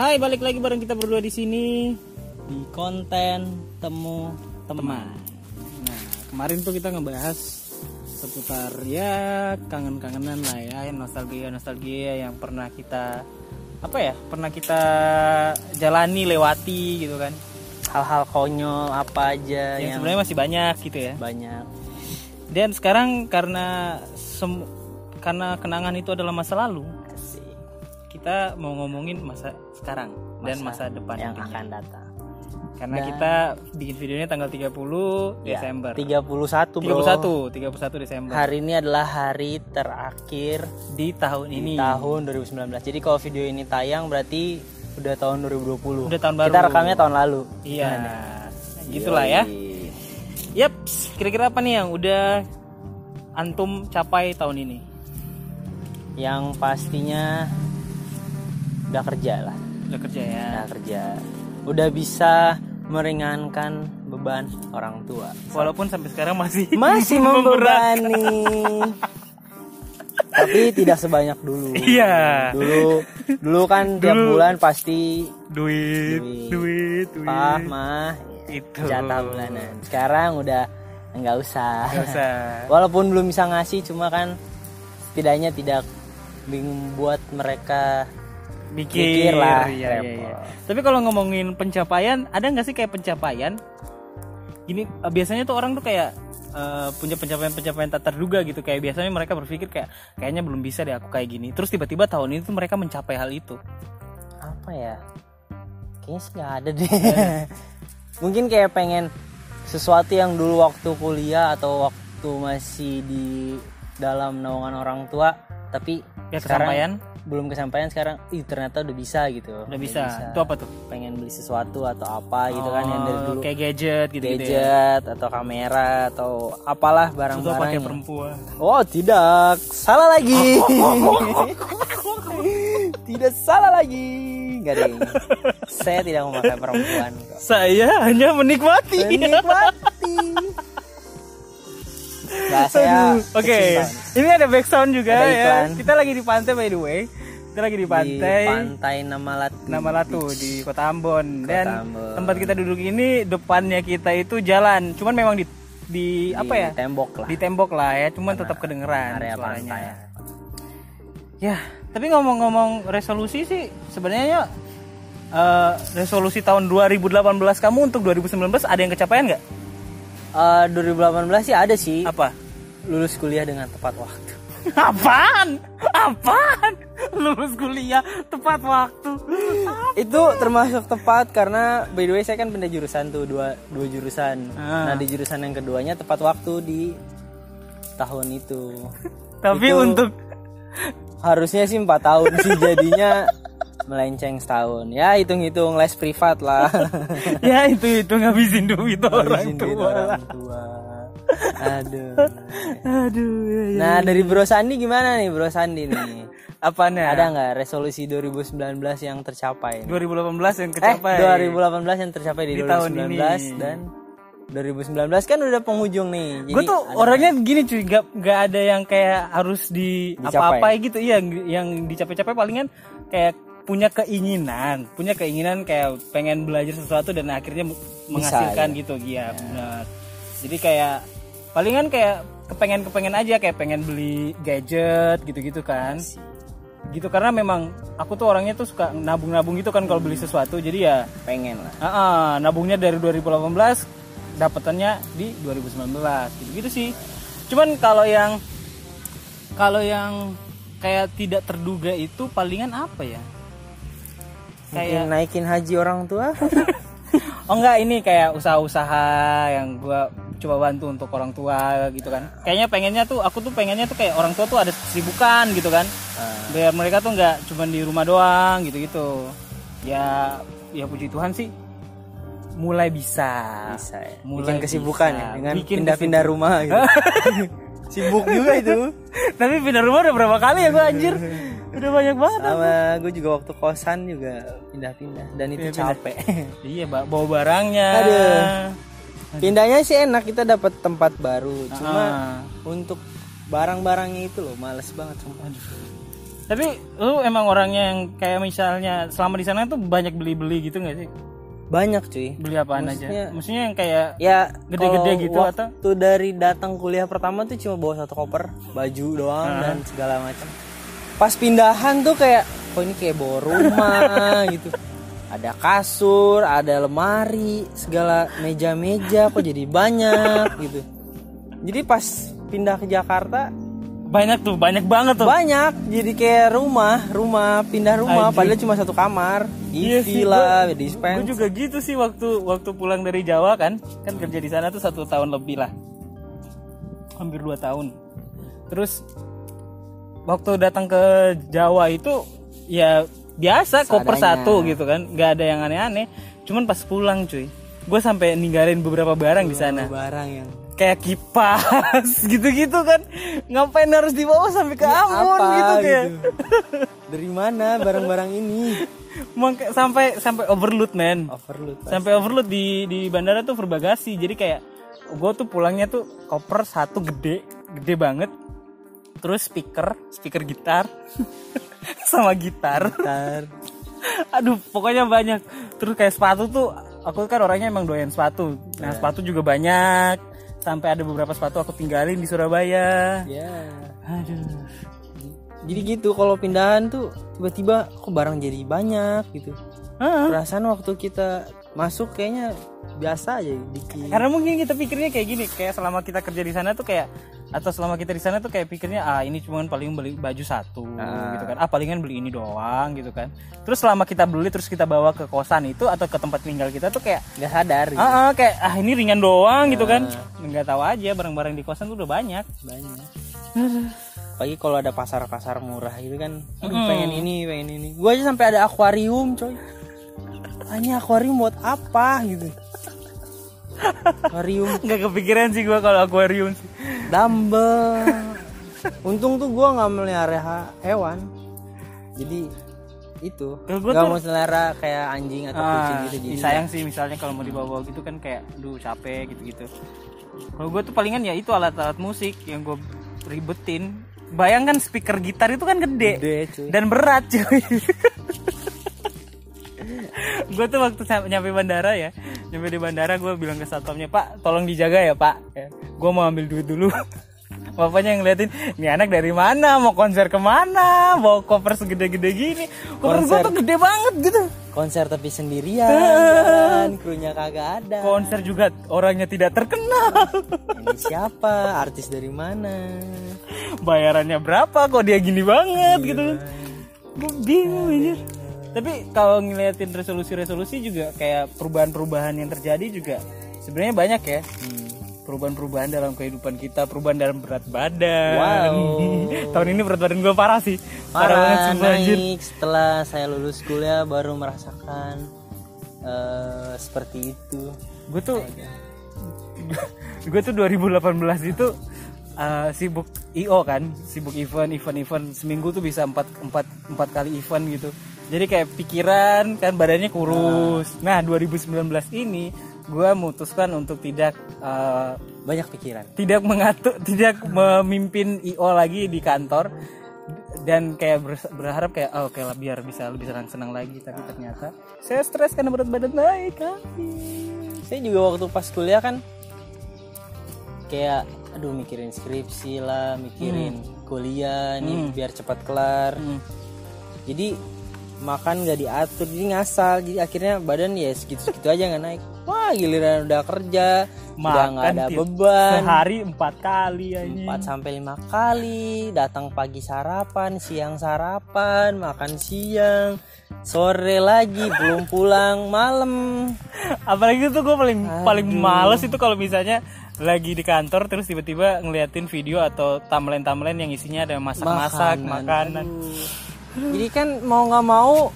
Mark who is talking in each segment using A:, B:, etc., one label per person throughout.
A: Hai, balik lagi bareng kita berdua di sini di konten temu teman. Nah, kemarin tuh kita ngebahas seputar ya kangen-kangenan lah ya, nostalgia-nostalgia yang pernah kita apa ya, pernah kita jalani, lewati gitu kan.
B: hal-hal konyol apa
A: Yang
B: aja yang,
A: Ya, sebenarnya masih banyak gitu ya.
B: banyak
A: Dan sekarang karena sem- karena kenangan itu adalah masa lalu,
B: Asik.
A: kita mau ngomongin masa sekarang dan masa depan
B: yang
A: mungkin.
B: akan datang.
A: Karena
B: Dan-
A: kita bikin videonya tanggal 30 Desember.
B: Ya, 31 bro.
A: 31, 31 Desember
B: Hari ini adalah hari terakhir
A: di tahun ini.
B: di tahun 2019. Jadi kalau video ini tayang berarti udah tahun 2020.
A: Udah tahun
B: Kita
A: baru.
B: rekamnya tahun lalu.
A: Iya. Gitulah ya. Yaps, kira-kira apa nih yang udah antum capai tahun ini?
B: Yang pastinya udah kerja lah.
A: Udah kerja ya.
B: Udah kerja. Udah bisa meringankan beban orang tua.
A: Walaupun sampai sekarang masih
B: masih membebani tapi tidak sebanyak dulu
A: Iya.
B: dulu dulu kan tiap bulan pasti
A: duit, Ah. duit, duit.
B: pah mah
A: Itu.
B: jatah bulanan sekarang udah nggak usah
A: Nggak usah.
B: walaupun belum bisa ngasih cuma kan setidaknya tidak membuat mereka
A: Mikir,
B: Mikir lah,
A: Iya, iya, iya.
B: repot.
A: Tapi kalau ngomongin pencapaian, ada nggak sih kayak pencapaian? Gini, eh, biasanya tuh orang tuh kayak eh, punya pencapaian-pencapaian tak terduga gitu. Kayak biasanya mereka berpikir kayak kayaknya belum bisa deh aku kayak gini. Terus tiba-tiba tahun ini tuh mereka mencapai hal itu.
B: apa ya kayaknya sih nggak ada deh mungkin kayak pengen sesuatu yang dulu waktu kuliah atau waktu masih di dalam naungan orang tua tapi
A: Ya
B: sekarang
A: kesampaian,
B: belum kesampaian sekarang ih ternyata udah bisa gitu
A: udah bisa. Itu apa tuh?
B: pengen beli sesuatu atau apa gitu kan yang dari
A: Oh,
B: dulu
A: kayak gadget gitu gitu. Ya.
B: gadget atau kamera atau apalah
A: Atau pakai
B: barang-barang yang-
A: perempuan.
B: Oh tidak, salah lagi. tidak salah lagi, garing. Saya tidak memakai perempuan. kok.
A: Saya hanya menikmati.
B: Menikmati. Nah, saya
A: Aduh, Oke, ini ada background juga
B: Ada
A: ya.
B: iklan.
A: Kita lagi di pantai by the way. Kita lagi di
B: kecil tahun.
A: pantai,
B: Di pantai nama Latu.
A: Nama Latu di Kota Ambon
B: Hmm. Kota
A: dan
B: Ambon.
A: tempat kita duduk ini depannya kita itu jalan. Cuman memang di di, apa ya?
B: Tembok lah.
A: Di tembok lah ya, cuman tetap kedengeran
B: area
A: suaranya.
B: pantai.
A: Ya, tapi ngomong-ngomong resolusi sih sebenarnya ya, eh, resolusi tahun 2018 kamu untuk 2019 ada yang kecapaian nggak?
B: Eh, 2018 sih ada sih
A: Apa?
B: lulus kuliah dengan tepat waktu.
A: Apaan? Apaan? Lulus kuliah tepat waktu.
B: itu termasuk tepat karena by the way saya kan benda jurusan tuh dua dua jurusan
A: Ah.
B: nah di jurusan yang keduanya tepat waktu di tahun itu
A: Tapi
B: Itu
A: untuk
B: harusnya sih empat tahun sih jadinya melenceng setahun ya hitung hitung les privat lah
A: ya itu itu ngabisin duit orang
B: Habisin duit
A: tua.
B: orang tua aduh
A: Aduh. ya, ya.
B: nah dari Bro Sandi gimana nih Bro Sandi nih
A: Nah. Apanya?
B: ada nggak resolusi 2019 yang tercapai
A: 2018 yang
B: Eh,
A: kecapai.
B: 2018 yang tercapai di,
A: Di tahun
B: 2019
A: ini.
B: dan 2019 kan udah penghujung nih. Jadi
A: Gue tuh
B: ada-
A: orangnya gini cuy, gak, gak ada yang kayak harus di
B: Dicapai.
A: apa-apa gitu. Iya, yang- yang dicapai-capai palingan kayak punya keinginan, punya keinginan kayak pengen belajar sesuatu dan akhirnya menghasilkan gitu. Iya, benar. Jadi kayak palingan kayak kepengen-kepengen aja kayak pengen beli gadget gitu-gitu kan. Gitu karena memang aku tuh orangnya tuh suka nabung-nabung gitu kan kalau beli sesuatu. Jadi ya
B: pengen lah.
A: Ah, ah, nabungnya dari 2018, dapetannya di 2019. Gitu-gitu sih. Cuman kalau yang kalau yang kayak tidak terduga itu palingan apa ya?
B: Mungkin naikin haji orang ah, tua.
A: Oh enggak, ini kayak usaha-usaha yang gua coba bantu untuk orang tua gitu kan. Kayaknya pengennya tuh aku tuh pengennya tuh kayak orang tua tuh ada kesibukan gitu kan.
B: Ah.
A: Biar mereka tuh enggak cuman di rumah doang gitu-gitu. Ya ya puji Tuhan sih mulai bisa.
B: bisa ya.
A: Mulai
B: Bikin kesibukan
A: bisa.
B: ya dengan
A: Bikin
B: pindah-pindah rumah gitu. Sibuk juga itu.
A: Tapi pindah rumah udah berapa kali ya gua anjir? Udah banyak banget.
B: Sama gue juga waktu kosan juga pindah-pindah dan itu capek.
A: Iya, ba- bawa barangnya.
B: Aduh. Pindahnya sih enak kita dapat tempat baru. Cuma
A: Ah.
B: untuk barang-barangnya itu loh males banget sumpah.
A: Tapi lu emang orangnya yang kayak misalnya selama di sana tuh banyak beli-beli gitu nggak sih?
B: banyak cuy
A: Beli apaan aja?
B: Maksudnya-
A: Maksudnya yang kayak
B: ya
A: Gede-gede
B: kalau
A: gitu
B: waktu
A: atau?
B: dari datang kuliah pertama tuh cuma bawa satu koper baju doang dan segala macam pas pindahan tuh kayak kok ini kayak bawa rumah gitu ada kasur ada lemari segala meja-meja kok jadi banyak gitu jadi pas pindah ke Jakarta
A: banyak tuh, banyak banget tuh.
B: banyak jadi kayak rumah rumah pindah rumah
A: Anjing.
B: padahal cuma satu kamar
A: Iya
B: TV
A: sih, gua-
B: lah
A: Gue
B: dispenser
A: juga gitu sih waktu waktu pulang dari Jawa kan, kan kerja di sana tuh satu tahun lebih lah, hampir dua tahun. Terus waktu datang ke Jawa itu ya biasa koper
B: Seadanya.
A: satu gitu kan, nggak ada yang aneh-aneh. Cuman pas pulang cuy, gue sampai ninggalin beberapa barang di sana,
B: barang yang
A: kayak kipas gitu-gitu kan. Ngapain harus dibawa sampai ke Ambon
B: Iya, apa
A: gitu kayak.
B: Dari mana barang-barang ini?
A: Mangka- sampai sampai overload man.
B: Overload. Pak.
A: sampai overload di di bandara tuh berbagasi jadi kayak gue tuh pulangnya tuh koper satu gede gede banget terus speaker speaker gitar sama gitar
B: Ntar.
A: aduh pokoknya banyak terus kayak sepatu tuh aku kan orangnya emang doyan sepatu nah sepatu juga banyak sampai ada beberapa sepatu aku tinggalin di Surabaya
B: Ya.
A: aduh
B: Jadi gitu kalau pindahan tuh tiba-tiba kok barang jadi banyak gitu.
A: Ah,
B: Perasaan waktu kita masuk kayaknya biasa aja dikit.
A: karena mungkin kita pikirnya kayak gini kayak selama kita kerja di sana tuh kayak atau selama kita di sana tuh kayak pikirnya ah ini cuman paling beli baju satu gitu kan ah palingan beli ini doang gitu kan terus selama kita beli terus kita bawa ke kosan itu atau ke tempat tinggal kita tuh kayak
B: Gak sadar gitu.
A: ah, ah, kayak ah ini ringan doang gitu kan nggak tahu aja barang-barang di kosan tuh udah banyak
B: banyak. Pagi kalau ada pasar-pasar murah gitu kan, aduh, pengen ini, pengen ini. Gua aja sampai ada akuarium, coy. Hanya akuarium buat apa gitu. Akuarium
A: nggak kepikiran sih gua kalau akuarium sih
B: Dumbbell. Untung tuh gua nggak melihara ha- hewan. Jadi itu
A: Kalau gua
B: nggak
A: tuh-
B: mau selera kayak anjing atau kucing
A: Ah,
B: gitu jadi
A: sayang sih misalnya kalau mau dibawa gitu kan kayak duh capek gitu-gitu. Kalau gue tuh palingan ya itu alat-alat musik yang gue ribetin. Bayangkan speaker gitar itu kan gede,
B: gede cuy
A: dan berat cuy. gue tuh waktu sam- nyampe bandara ya, nyampe di bandara gue bilang ke satpamnya Pak, tolong dijaga ya Pak. Gue mau ambil duit dulu. Bapaknya ngeliatin, ini anak dari mana, mau konser kemana, bawa koper segede-gede gini. Koper gue
B: Konser.
A: tuh gede banget gitu.
B: konser tapi sendirian jalan, krunya kagak ada
A: konser juga orangnya tidak terkenal
B: ini siapa artis dari mana
A: bayarannya berapa kok dia gini banget gitu kan gue bingung anjir tapi kalau ngeliatin resolusi-resolusi juga kayak perubahan-perubahan yang terjadi juga sebenarnya banyak ya perubahan-perubahan dalam kehidupan kita perubahan dalam berat badan
B: Wow.
A: tahun ini berat badan gue parah sih parah, banget
B: parah
A: sumpah anjir
B: naik setelah saya lulus kuliah baru merasakan eh, seperti itu
A: gue tuh gue tuh 2018 itu uh, sibuk io kan sibuk event event event seminggu tuh bisa empat empat empat kali event gitu jadi kayak pikiran kan badannya kurus nah 2019 ini gue memutuskan untuk tidak uh,
B: banyak pikiran
A: tidak mengatur tidak memimpin io lagi di kantor dan kayak bers- berharap kayak oh, oke lah biar bisa lebih senang-senang lagi tapi ternyata saya stres karena berat badan naik habis
B: saya juga waktu pas kuliah kan kayak aduh mikirin skripsi lah mikirin
A: Hmm.
B: kuliah nih biar cepat kelar jadi makan nggak diatur jadi ngasal jadi akhirnya badan ya segitu segitu aja nggak naik wah giliran udah kerja udah nggak ada
A: tiap
B: beban
A: sehari empat kali aja
B: 4 sampai lima kali datang pagi sarapan siang sarapan makan siang sore lagi belum pulang malam
A: apalagi tuh gue paling paling males itu kalau misalnya lagi di kantor terus tiba-tiba ngeliatin video atau timeline timeline yang isinya ada masak-masak makanan,
B: Jadi kan mau nggak mau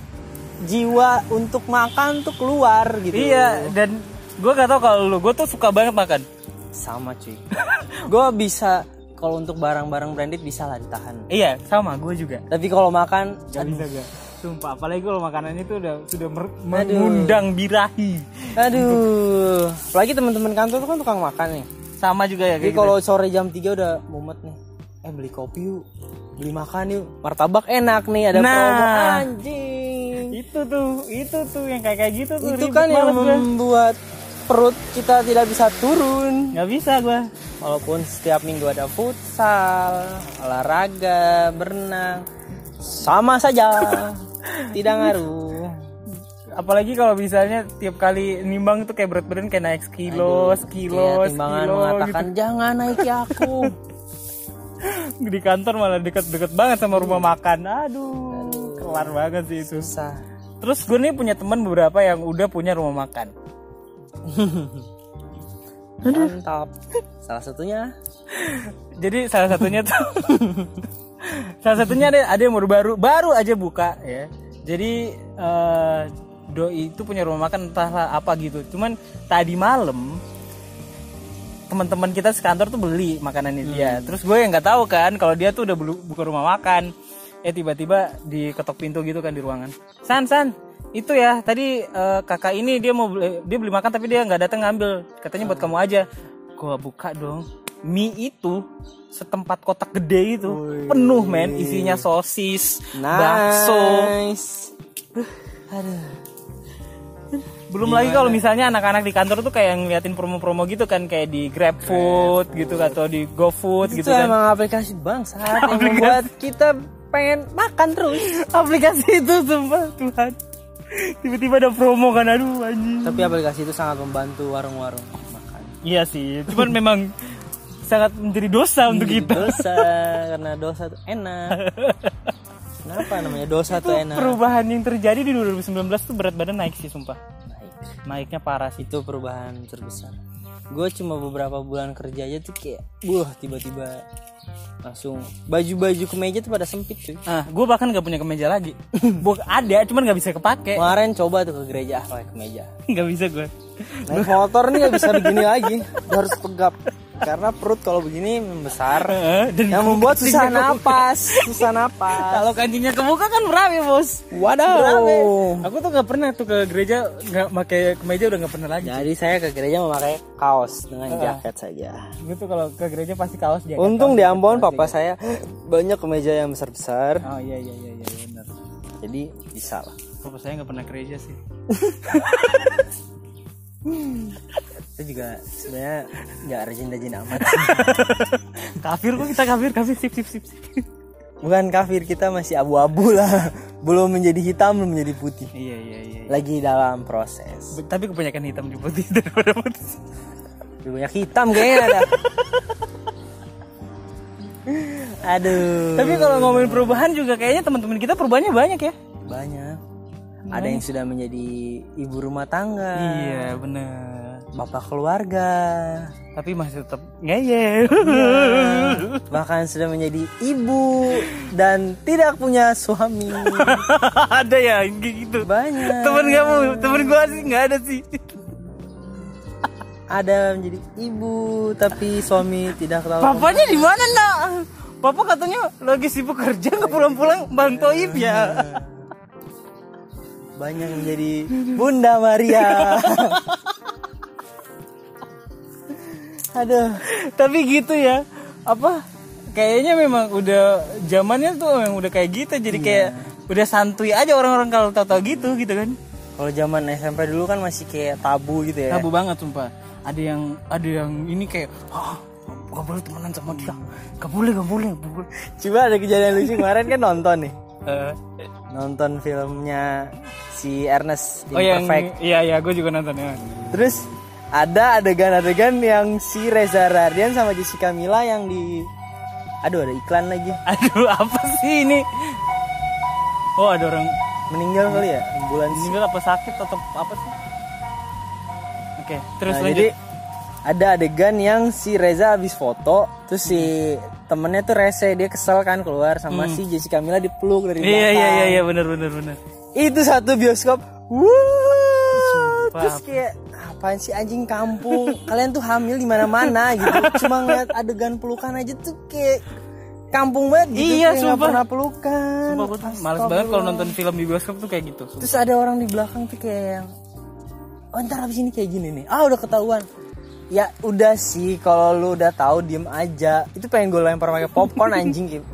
B: jiwa untuk makan tuh keluar gitu.
A: iya dan gue gak tau kalau lu gue tuh suka banget makan
B: Sama cuy. gue bisa kalau untuk barang-barang branded bisa lah ditahan.
A: iya sama gue juga
B: Tapi kalau makan
A: gak bisa gak sumpah apalagi kalau makanannya tuh udah sudah mer- mengundang birahi
B: aduh. Apalagi teman-teman kantor tuh kan tukang makan nih.
A: sama juga ya
B: Jadi
A: kayak gitu.
B: kalau sore jam 3 udah mumet nih. Eh beli kopi yuk. beli makan yuk martabak enak nih ada
A: Nah.
B: promo anjing
A: itu tuh itu tuh yang kayak kayak gitu tuh
B: itu
A: ribet
B: kan yang
A: banget gua.
B: membuat perut kita tidak bisa turun
A: nggak bisa gua
B: walaupun setiap minggu ada futsal olahraga berenang sama saja tidak ngaruh
A: Iya. apalagi kalau misalnya tiap kali nimbang tuh kayak berat badan kayak naik sekilo sekilo
B: Kayak iya, timbangan
A: sekilo
B: mengatakan jangan naiki aku
A: gitu. di kantor malah deket-deket banget sama rumah makan aduh kelar banget sih itu
B: susah
A: terus gue nih punya teman beberapa yang udah punya rumah makan
B: mantap salah satunya
A: jadi salah satunya tuh salah satunya ada ada yang baru baru baru aja buka ya jadi eh, doi itu punya rumah makan entahlah apa gitu cuman tadi malam teman-teman kita sekantor tuh beli makanannya dia
B: Hmm.
A: terus gue yang nggak tahu kan kalau dia tuh udah belu- buka rumah makan eh tiba-tiba diketok pintu gitu kan di ruangan san san itu ya tadi eh, kakak ini dia mau beli, dia beli makan tapi dia nggak datang ngambil katanya
B: Hmm.
A: buat kamu aja gue buka dong mie itu setempat kotak gede itu penuh men isinya sosis bakso
B: nice aduh
A: Belum lagi kalau misalnya anak-anak di kantor tuh kayak ngeliatin promo-promo gitu kan kayak di GrabFood gitu atau di GoFood
B: itu
A: gitu kan.
B: emang aplikasi bangsa yang membuat kita pengen makan terus
A: Aplikasi itu sumpah Tuhan. Tiba-tiba ada promo kan aduh anjing.
B: tapi aplikasi itu sangat membantu warung-warung makan
A: Iya sih, cuman memang sangat menjadi dosa untuk kita.
B: dosa karena dosa tuh enak kenapa namanya dosa tuh enak
A: Perubahan yang terjadi di 2019 tuh berat badan naik sih sumpah.
B: Baik.
A: Naiknya parah sih.
B: itu perubahan terbesar gue cuma beberapa bulan kerja aja tuh kayak wah tiba-tiba langsung baju-baju kemeja tuh pada sempit cuy
A: Ah, gue bahkan gak punya kemeja lagi. Gue ada, cuman gak bisa kepake.
B: kemarin coba tuh ke gereja ah, pakai kemeja
A: Gak bisa gue.
B: naik motor nih gak bisa begini lagi Gua harus tegap karena perut kalau begini membesar
A: Heeh, Eh, dan
B: yang membuat susah napas susah napas
A: kalau kancingnya kebuka kan berame bos. Rame.
B: waduh
A: Aku tuh nggak pernah tuh ke gereja nggak pakai kemeja udah nggak pernah lagi.
B: Jadi saya ke gereja memakai kaos dengan jaket saja.
A: Gue tuh kalau ke gereja pasti kaos dia.
B: Untung di Ambon papa saya banyak kemeja yang besar-besar.
A: Oh iya iya iya iya benar.
B: Jadi bisa lah.
A: Papa saya nggak pernah ke gereja sih.
B: Itu juga sebenarnya nggak rajin-rajin amat.
A: kafir kok kita kafir kafir sip sip sip. sip.
B: Bukan kafir kita masih abu-abu lah. Belum menjadi hitam, belum menjadi putih.
A: iya iya iya.
B: Lagi dalam proses.
A: Be- Tapi kebanyakan hitam di putih daripada putih.
B: Lebih banyak hitam kayaknya ada. Aduh.
A: Tapi kalau ngomongin perubahan juga kayaknya teman-teman kita perubahannya banyak ya.
B: banyak. Ada yang sudah menjadi ibu rumah tangga,
A: Iya bener.
B: bapak keluarga,
A: Tapi masih tetap ngeyel. Iya.
B: bahkan sudah menjadi ibu dan tidak punya suami
A: ada ya yang kayak gitu.
B: banyak
A: Temen kamu, temen gua sih nggak ada sih.
B: ada menjadi ibu tapi suami tidak tahu
A: Papanya di mana nak? Papa katanya lagi sibuk kerja nggak pulang-pulang Bang Toib ya.
B: banyak yang menjadi bunda Maria aduh
A: Tapi gitu ya. Apa? Kayaknya memang udah zamannya tuh memang udah kayak gitu. Jadi
B: Iya.
A: kayak udah santuy aja orang-orang kalau tahu-tahu gitu gitu kan.
B: kalau zaman SMP dulu kan masih kayak tabu gitu ya
A: Tabu banget sumpah. Ada yang ada yang ini kayak "Hah, nggak boleh temenan sama dia. Gak boleh, gak boleh, nggak boleh.
B: coba ada kejadian lucu kemarin kan nonton nih
A: Eh,
B: nonton filmnya si Ernest
A: oh yang
B: Imperfect
A: iya iya gue juga nonton ya.
B: Terus ada adegan-adegan yang si Reza Radian sama Jessica Mila yang di Aduh ada iklan lagi.
A: Aduh apa sih ini? Oh ada orang
B: Meninggal kali ya ambulans.
A: meninggal apa sakit atau apa sih? Oke, terus
B: Nah,
A: lanjut.
B: jadi ada adegan yang si Reza habis foto terus si temennya tuh rese dia kesel kan keluar sama si Jessica Mila dipeluk dari
A: Hmm. iya
B: belakang.
A: iya iya iya benar benar benar.
B: Itu satu bioskop. Wuh.
A: Sumpah.
B: Terus kayak apaan sih anjing kampung? Kalian tuh hamil di mana-mana gitu. Cuma ngeliat adegan pelukan aja tuh kayak kampung banget gitu.
A: Iya,
B: kayak nggak
A: sumpah.
B: pernah pelukan.
A: Sumpah gue tuh males banget kalau nonton film di bioskop tuh kayak gitu.
B: Terus ada orang di belakang tuh kayak yang Oh ntar abis ini kayak gini nih Ah udah ketahuan Ya udah sih kalau lu udah tahu diem aja Itu pengen gue lempar pakai popcorn anjing gitu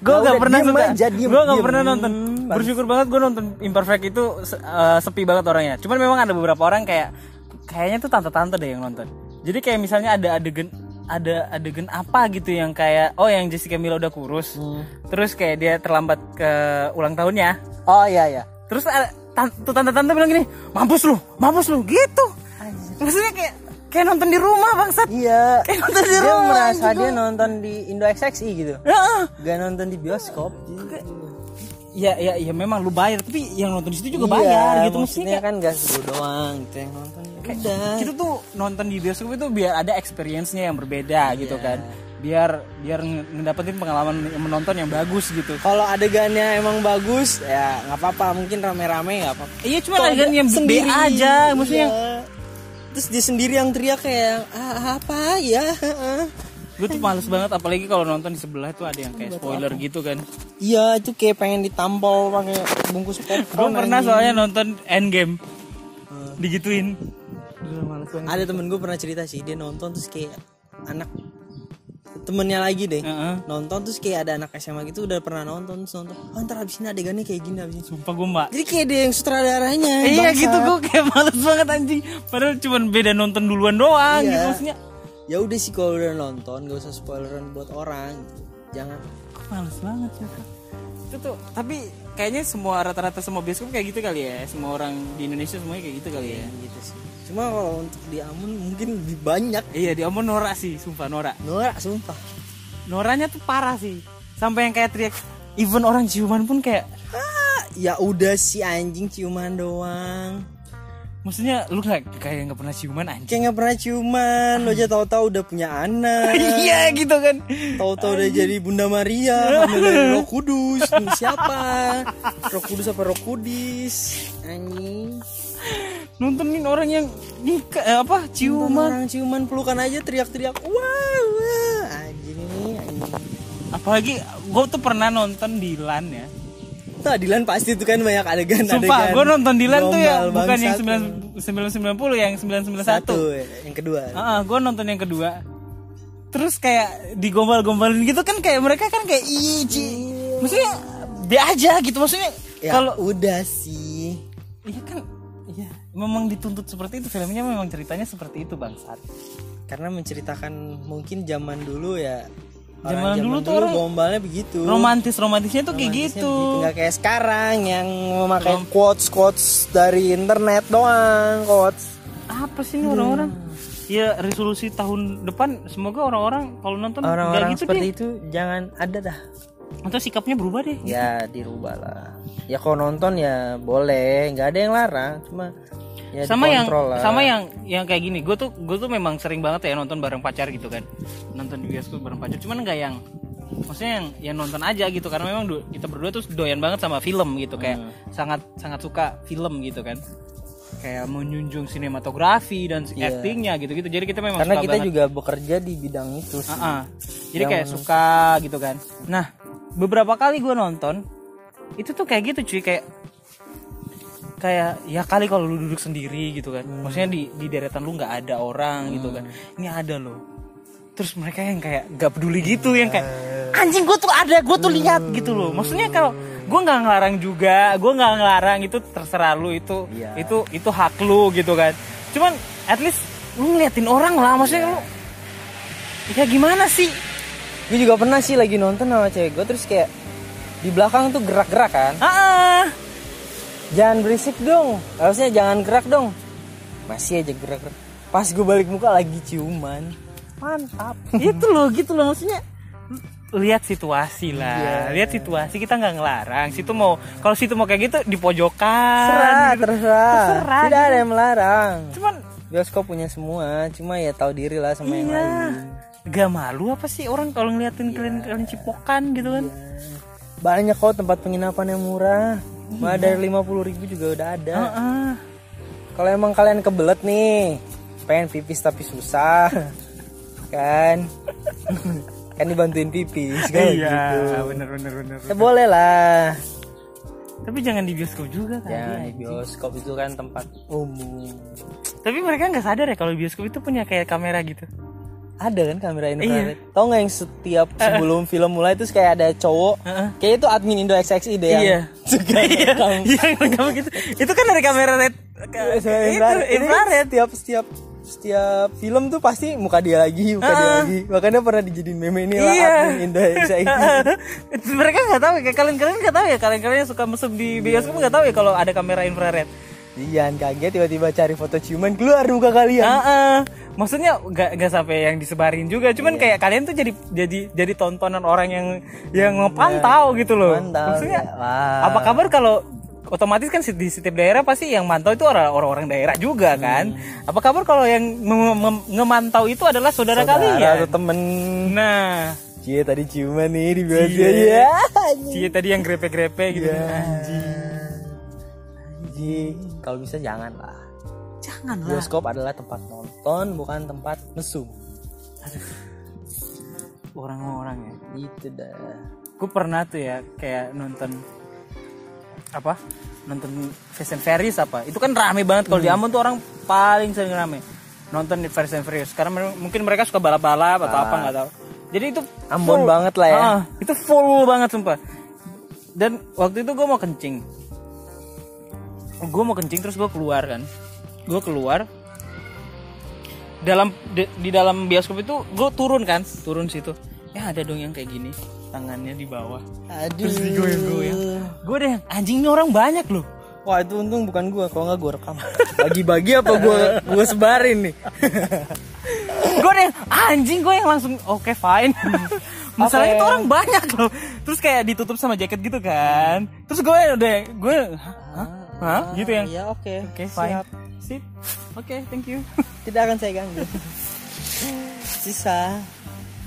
A: gue
B: Nah,
A: gak
B: udah,
A: pernah
B: diem
A: suka
B: aja, diem,
A: gue gak
B: diem.
A: pernah nonton
B: Hmm,
A: bersyukur banget gue nonton imperfect itu se- eh, sepi banget orangnya cuman memang ada beberapa orang kayak kayaknya tuh tante-tante deh yang nonton jadi kayak misalnya ada adegan ada adegan apa gitu yang kayak oh yang Jessica Mila udah kurus
B: Hmm.
A: terus kayak dia terlambat ke ulang tahunnya
B: Oh iya iya.
A: terus ada tan- tuh tante-tante bilang gini mampus lu mampus lu gitu maksudnya kayak kayak nonton di rumah bangsat
B: Iya.
A: Kayak nonton di
B: dia
A: rumah,
B: merasa
A: gitu.
B: dia nonton di Indo XXI gitu.
A: Heeh.
B: Gak nonton di bioskop.
A: ya ya ya memang lu bayar tapi yang nonton di situ juga
B: Iya,
A: bayar gitu maksudnya
B: maksudnya kan gak gue doang gitu yang nonton.
A: kayak kita tuh nonton di bioskop itu biar ada experience-nya yang berbeda gitu kan biar biar nge- ngedapetin pengalaman yang menonton yang bagus gitu
B: Kalau adegannya emang bagus ya nggak apa-apa mungkin rame-rame nggak apa-apa.
A: iya cuma kan yang sendiri
B: sendiri
A: aja maksudnya
B: iya. Terus dia sendiri yang teriak kayak "Ah, apa ya? ah."
A: gue tuh males banget apalagi kalau nonton di sebelah tuh ada yang kayak spoiler gitu kan
B: Iya itu kayak pengen ditampol pakai bungkus
A: gue
B: popcorn.
A: pernah soalnya nonton Endgame digituin
B: Ada temen gue pernah cerita sih dia nonton terus kayak anak temennya lagi deh.
A: Heeh.
B: Nonton terus kayak ada anak SMA gitu udah pernah nonton terus nonton. Oh, ntar abis ini adegannya kayak gini abis ini.
A: sumpah gue mbak
B: Jadi kayak dia yang sutradaranya.
A: iya
B: bangsat.
A: gitu gue kayak males banget anjing padahal cuma beda nonton duluan doang
B: Iya.
A: gitu maksudnya
B: Ya udah sih kalau udah nonton gak usah spoileran buat orang. gitu. Jangan.
A: Kok males banget ya, sumpah. Itu tuh, tapi kayaknya semua rata-rata semua bioskop kayak gitu kali ya. Semua orang di Indonesia semuanya kayak gitu kali ya.
B: gitu sih. Cuma kalau untuk di Amun mungkin lebih banyak.
A: Iya, dia omong Nora sih, sumpah Nora.
B: Norak sumpah.
A: Noranya tuh parah sih. Sampai yang kayak teriak even orang ciuman pun kayak
B: Ah, ya udah sih anjing ciuman doang.
A: maksudnya lu nggak kayak nggak pernah ciuman anjing.
B: Kayak nggak pernah ciuman, lo aja tahu-tahu udah punya anak.
A: Iya gitu kan.
B: Tahu-tahu udah jadi Bunda Maria, hamil dari Roh Kudus. Ini Siapa? Roh Kudus apa Roh Kudis? Anjing.
A: Nontonin orang yang nikah eh, apa ciuman.
B: Orang ciuman pelukan aja teriak-teriak. Wah, wah. Anjing ini, anjing.
A: Apalagi gue tuh pernah nonton Dilan ya.
B: Nah, Dilan pasti itu kan banyak adegan
A: Sumpah, gue nonton Dilan tuh ya bukan yang
B: 991
A: 990 yang 991.
B: yang kedua.
A: Heeh, gue nonton yang kedua. Terus kayak digombal-gombalin gitu kan kayak mereka kan kayak "Ih, Ci." Maksudnya be aja gitu maksudnya
B: Ya,
A: kalau
B: udah sih.
A: iya kan iya memang dituntut seperti itu filmnya memang ceritanya seperti itu bangsat.
B: Karena menceritakan mungkin zaman dulu ya.
A: Zaman
B: Orang
A: dulu tuh orang- Nah,
B: gombalnya begitu.
A: Romantis-romantisnya tuh kayak
B: Romantisnya
A: gitu.
B: begitu. Nggak kayak sekarang yang memakai quotes-quotes dari internet doang, quotes.
A: Apa sih ini orang-orang? Ya resolusi tahun depan semoga orang-orang kalau nonton nggak
B: Orang-orang
A: gitu
B: seperti
A: deh.
B: itu jangan ada dah.
A: Atau sikapnya berubah deh.
B: Ya dirubah lah. Ya kalau nonton ya boleh, nggak ada yang larang, cuma ya
A: sama yang
B: dikontrol lah.
A: sama yang yang kayak gini gue tuh gue tuh memang sering banget ya nonton bareng pacar gitu kan nonton di bioskop bareng pacar cuman nggak yang maksudnya yang yang nonton aja gitu karena memang du- kita berdua tuh doyan banget sama film gitu kayak
B: Hmm.
A: sangat sangat suka film gitu kan kayak menjunjung sinematografi dan actingnya gitu gitu jadi kita memang
B: Iya. karena
A: suka
B: kita
A: banget.
B: juga bekerja di bidang itu sih.
A: Ah, ah. jadi kayak suka gitu kan nah beberapa kali gue nonton itu tuh kayak gitu cuy kayak kayak ya kali kalau lu duduk sendiri gitu kan maksudnya di di deretan lu nggak ada orang gitu kan ini ada loh terus mereka yang kayak nggak peduli gitu yang kayak anjing gue tuh ada gue tuh lihat gitu loh maksudnya kalau gue nggak ngelarang juga gue nggak ngelarang itu terserah lu itu
B: Iya.
A: itu itu hak lu gitu kan cuman at least lu ngeliatin orang lah maksudnya lu ya gimana sih
B: Gue juga pernah sih lagi nonton sama cewek gue terus kayak di belakang tuh gerak-gerak kan.
A: ah
B: Jangan berisik dong. Harusnya jangan gerak dong. Masih aja gerak-gerak. Pas gue balik muka lagi ciuman. Mantap.
A: itu loh gitu loh maksudnya Iya. lihat situasi lah lihat situasi kita nggak ngelarang situ mau kalau situ mau kayak gitu di
B: Terserah,
A: pojokan gitu.
B: terserah.
A: Terserah,
B: Tidak
A: gitu.
B: ada yang melarang.
A: cuman
B: Bioskop punya semua, cuma ya tahu diri lah sama yang
A: iya
B: lain.
A: gak malu apa sih orang kalau ngeliatin kalian kalian cipokan gitu kan
B: Banyak kok tempat penginapan yang murah. Mah dari 50.000 juga udah ada.
A: Iya. Ah,
B: Kalau emang kalian kebelet nih, pengen pipis tapi susah, kan? kan dibantuin pipis kan
A: iya
B: gitu.
A: bener bener bener
B: Ya boleh lah.
A: tapi jangan di bioskop juga kan
B: Ya di bioskop itu kan tempat umum.
A: tapi mereka nggak sadar ya kalau bioskop itu punya kayak kamera gitu
B: ada kan kamera infrared tau nggak yang setiap sebelum film mulai terus kayak ada cowok kayak itu admin Indo XXI deh yang
A: Iya.
B: suka rekam
A: Yang rekam gitu. Itu kan dari kamera red. Iya,
B: Itu
A: Itu infrared.
B: tiap setiap setiap film tuh pasti muka dia lagi muka dia lagi makanya pernah dijadiin meme ini lah
A: Iya.
B: admin Indo XXI
A: Itu mereka nggak tahu ya kalian kalian nggak tahu ya kalian kalian yang suka mesum di bioskop nggak tahu ya kalau ada kamera infrared
B: Jangan kaget tiba-tiba cari foto ciuman keluar muka kalian
A: Ah, ah. maksudnya nggak nggak sampai yang disebarin juga cuman kayak kalian tuh jadi jadi jadi tontonan orang yang yang ngepantau gitu loh
B: Mantap.
A: maksudnya
B: Wah.
A: apa kabar kalau otomatis kan di setiap daerah pasti yang mantau itu orang- orang-orang daerah juga kan apa kabar kalau yang mem- mem- ngemantau itu adalah saudara,
B: Saudara
A: kalian
B: atau temen
A: nah
B: Cie tadi ciuman nih di bawah
A: Cie.
B: ya
A: Cie tadi yang grepe-grepe gitu anjing
B: Anjing. Kalau bisa jangan lah.
A: jangan
B: Bioskop adalah tempat nonton, bukan tempat mesum.
A: orang-orang ya
B: Itu Gitu dah.
A: gue pernah tuh ya kayak nonton apa nonton Fast and Furious apa itu kan rame banget kalau di Ambon tuh orang paling sering rame nonton di Fast and Furious karena mer- mungkin mereka suka balap-balap atau apa nggak tahu jadi itu
B: Ambon banget lah ya.
A: Ah, itu full banget sumpah dan waktu itu gue mau kencing gue mau kencing terus gue keluar kan gue keluar dalam di, di dalam bioskop itu gue turun kan turun situ ya ada dong yang kayak gini tangannya di bawah
B: Aduh. Iya.
A: gue deh anjingnya orang banyak loh
B: Wah itu untung bukan gua, kalau nggak gua rekam. Bagi-bagi apa gua gua sebarin nih.
A: gue deh anjing gue yang langsung oke fine masalahnya
B: Oke.
A: itu orang banyak loh terus kayak ditutup sama jaket gitu kan terus gue udah gue hah? Hah? Hah? gitu yang
B: Iya oke.
A: oke fine
B: Siap.
A: sip oke thank you
B: Tidak akan saya ganggu. Sisa.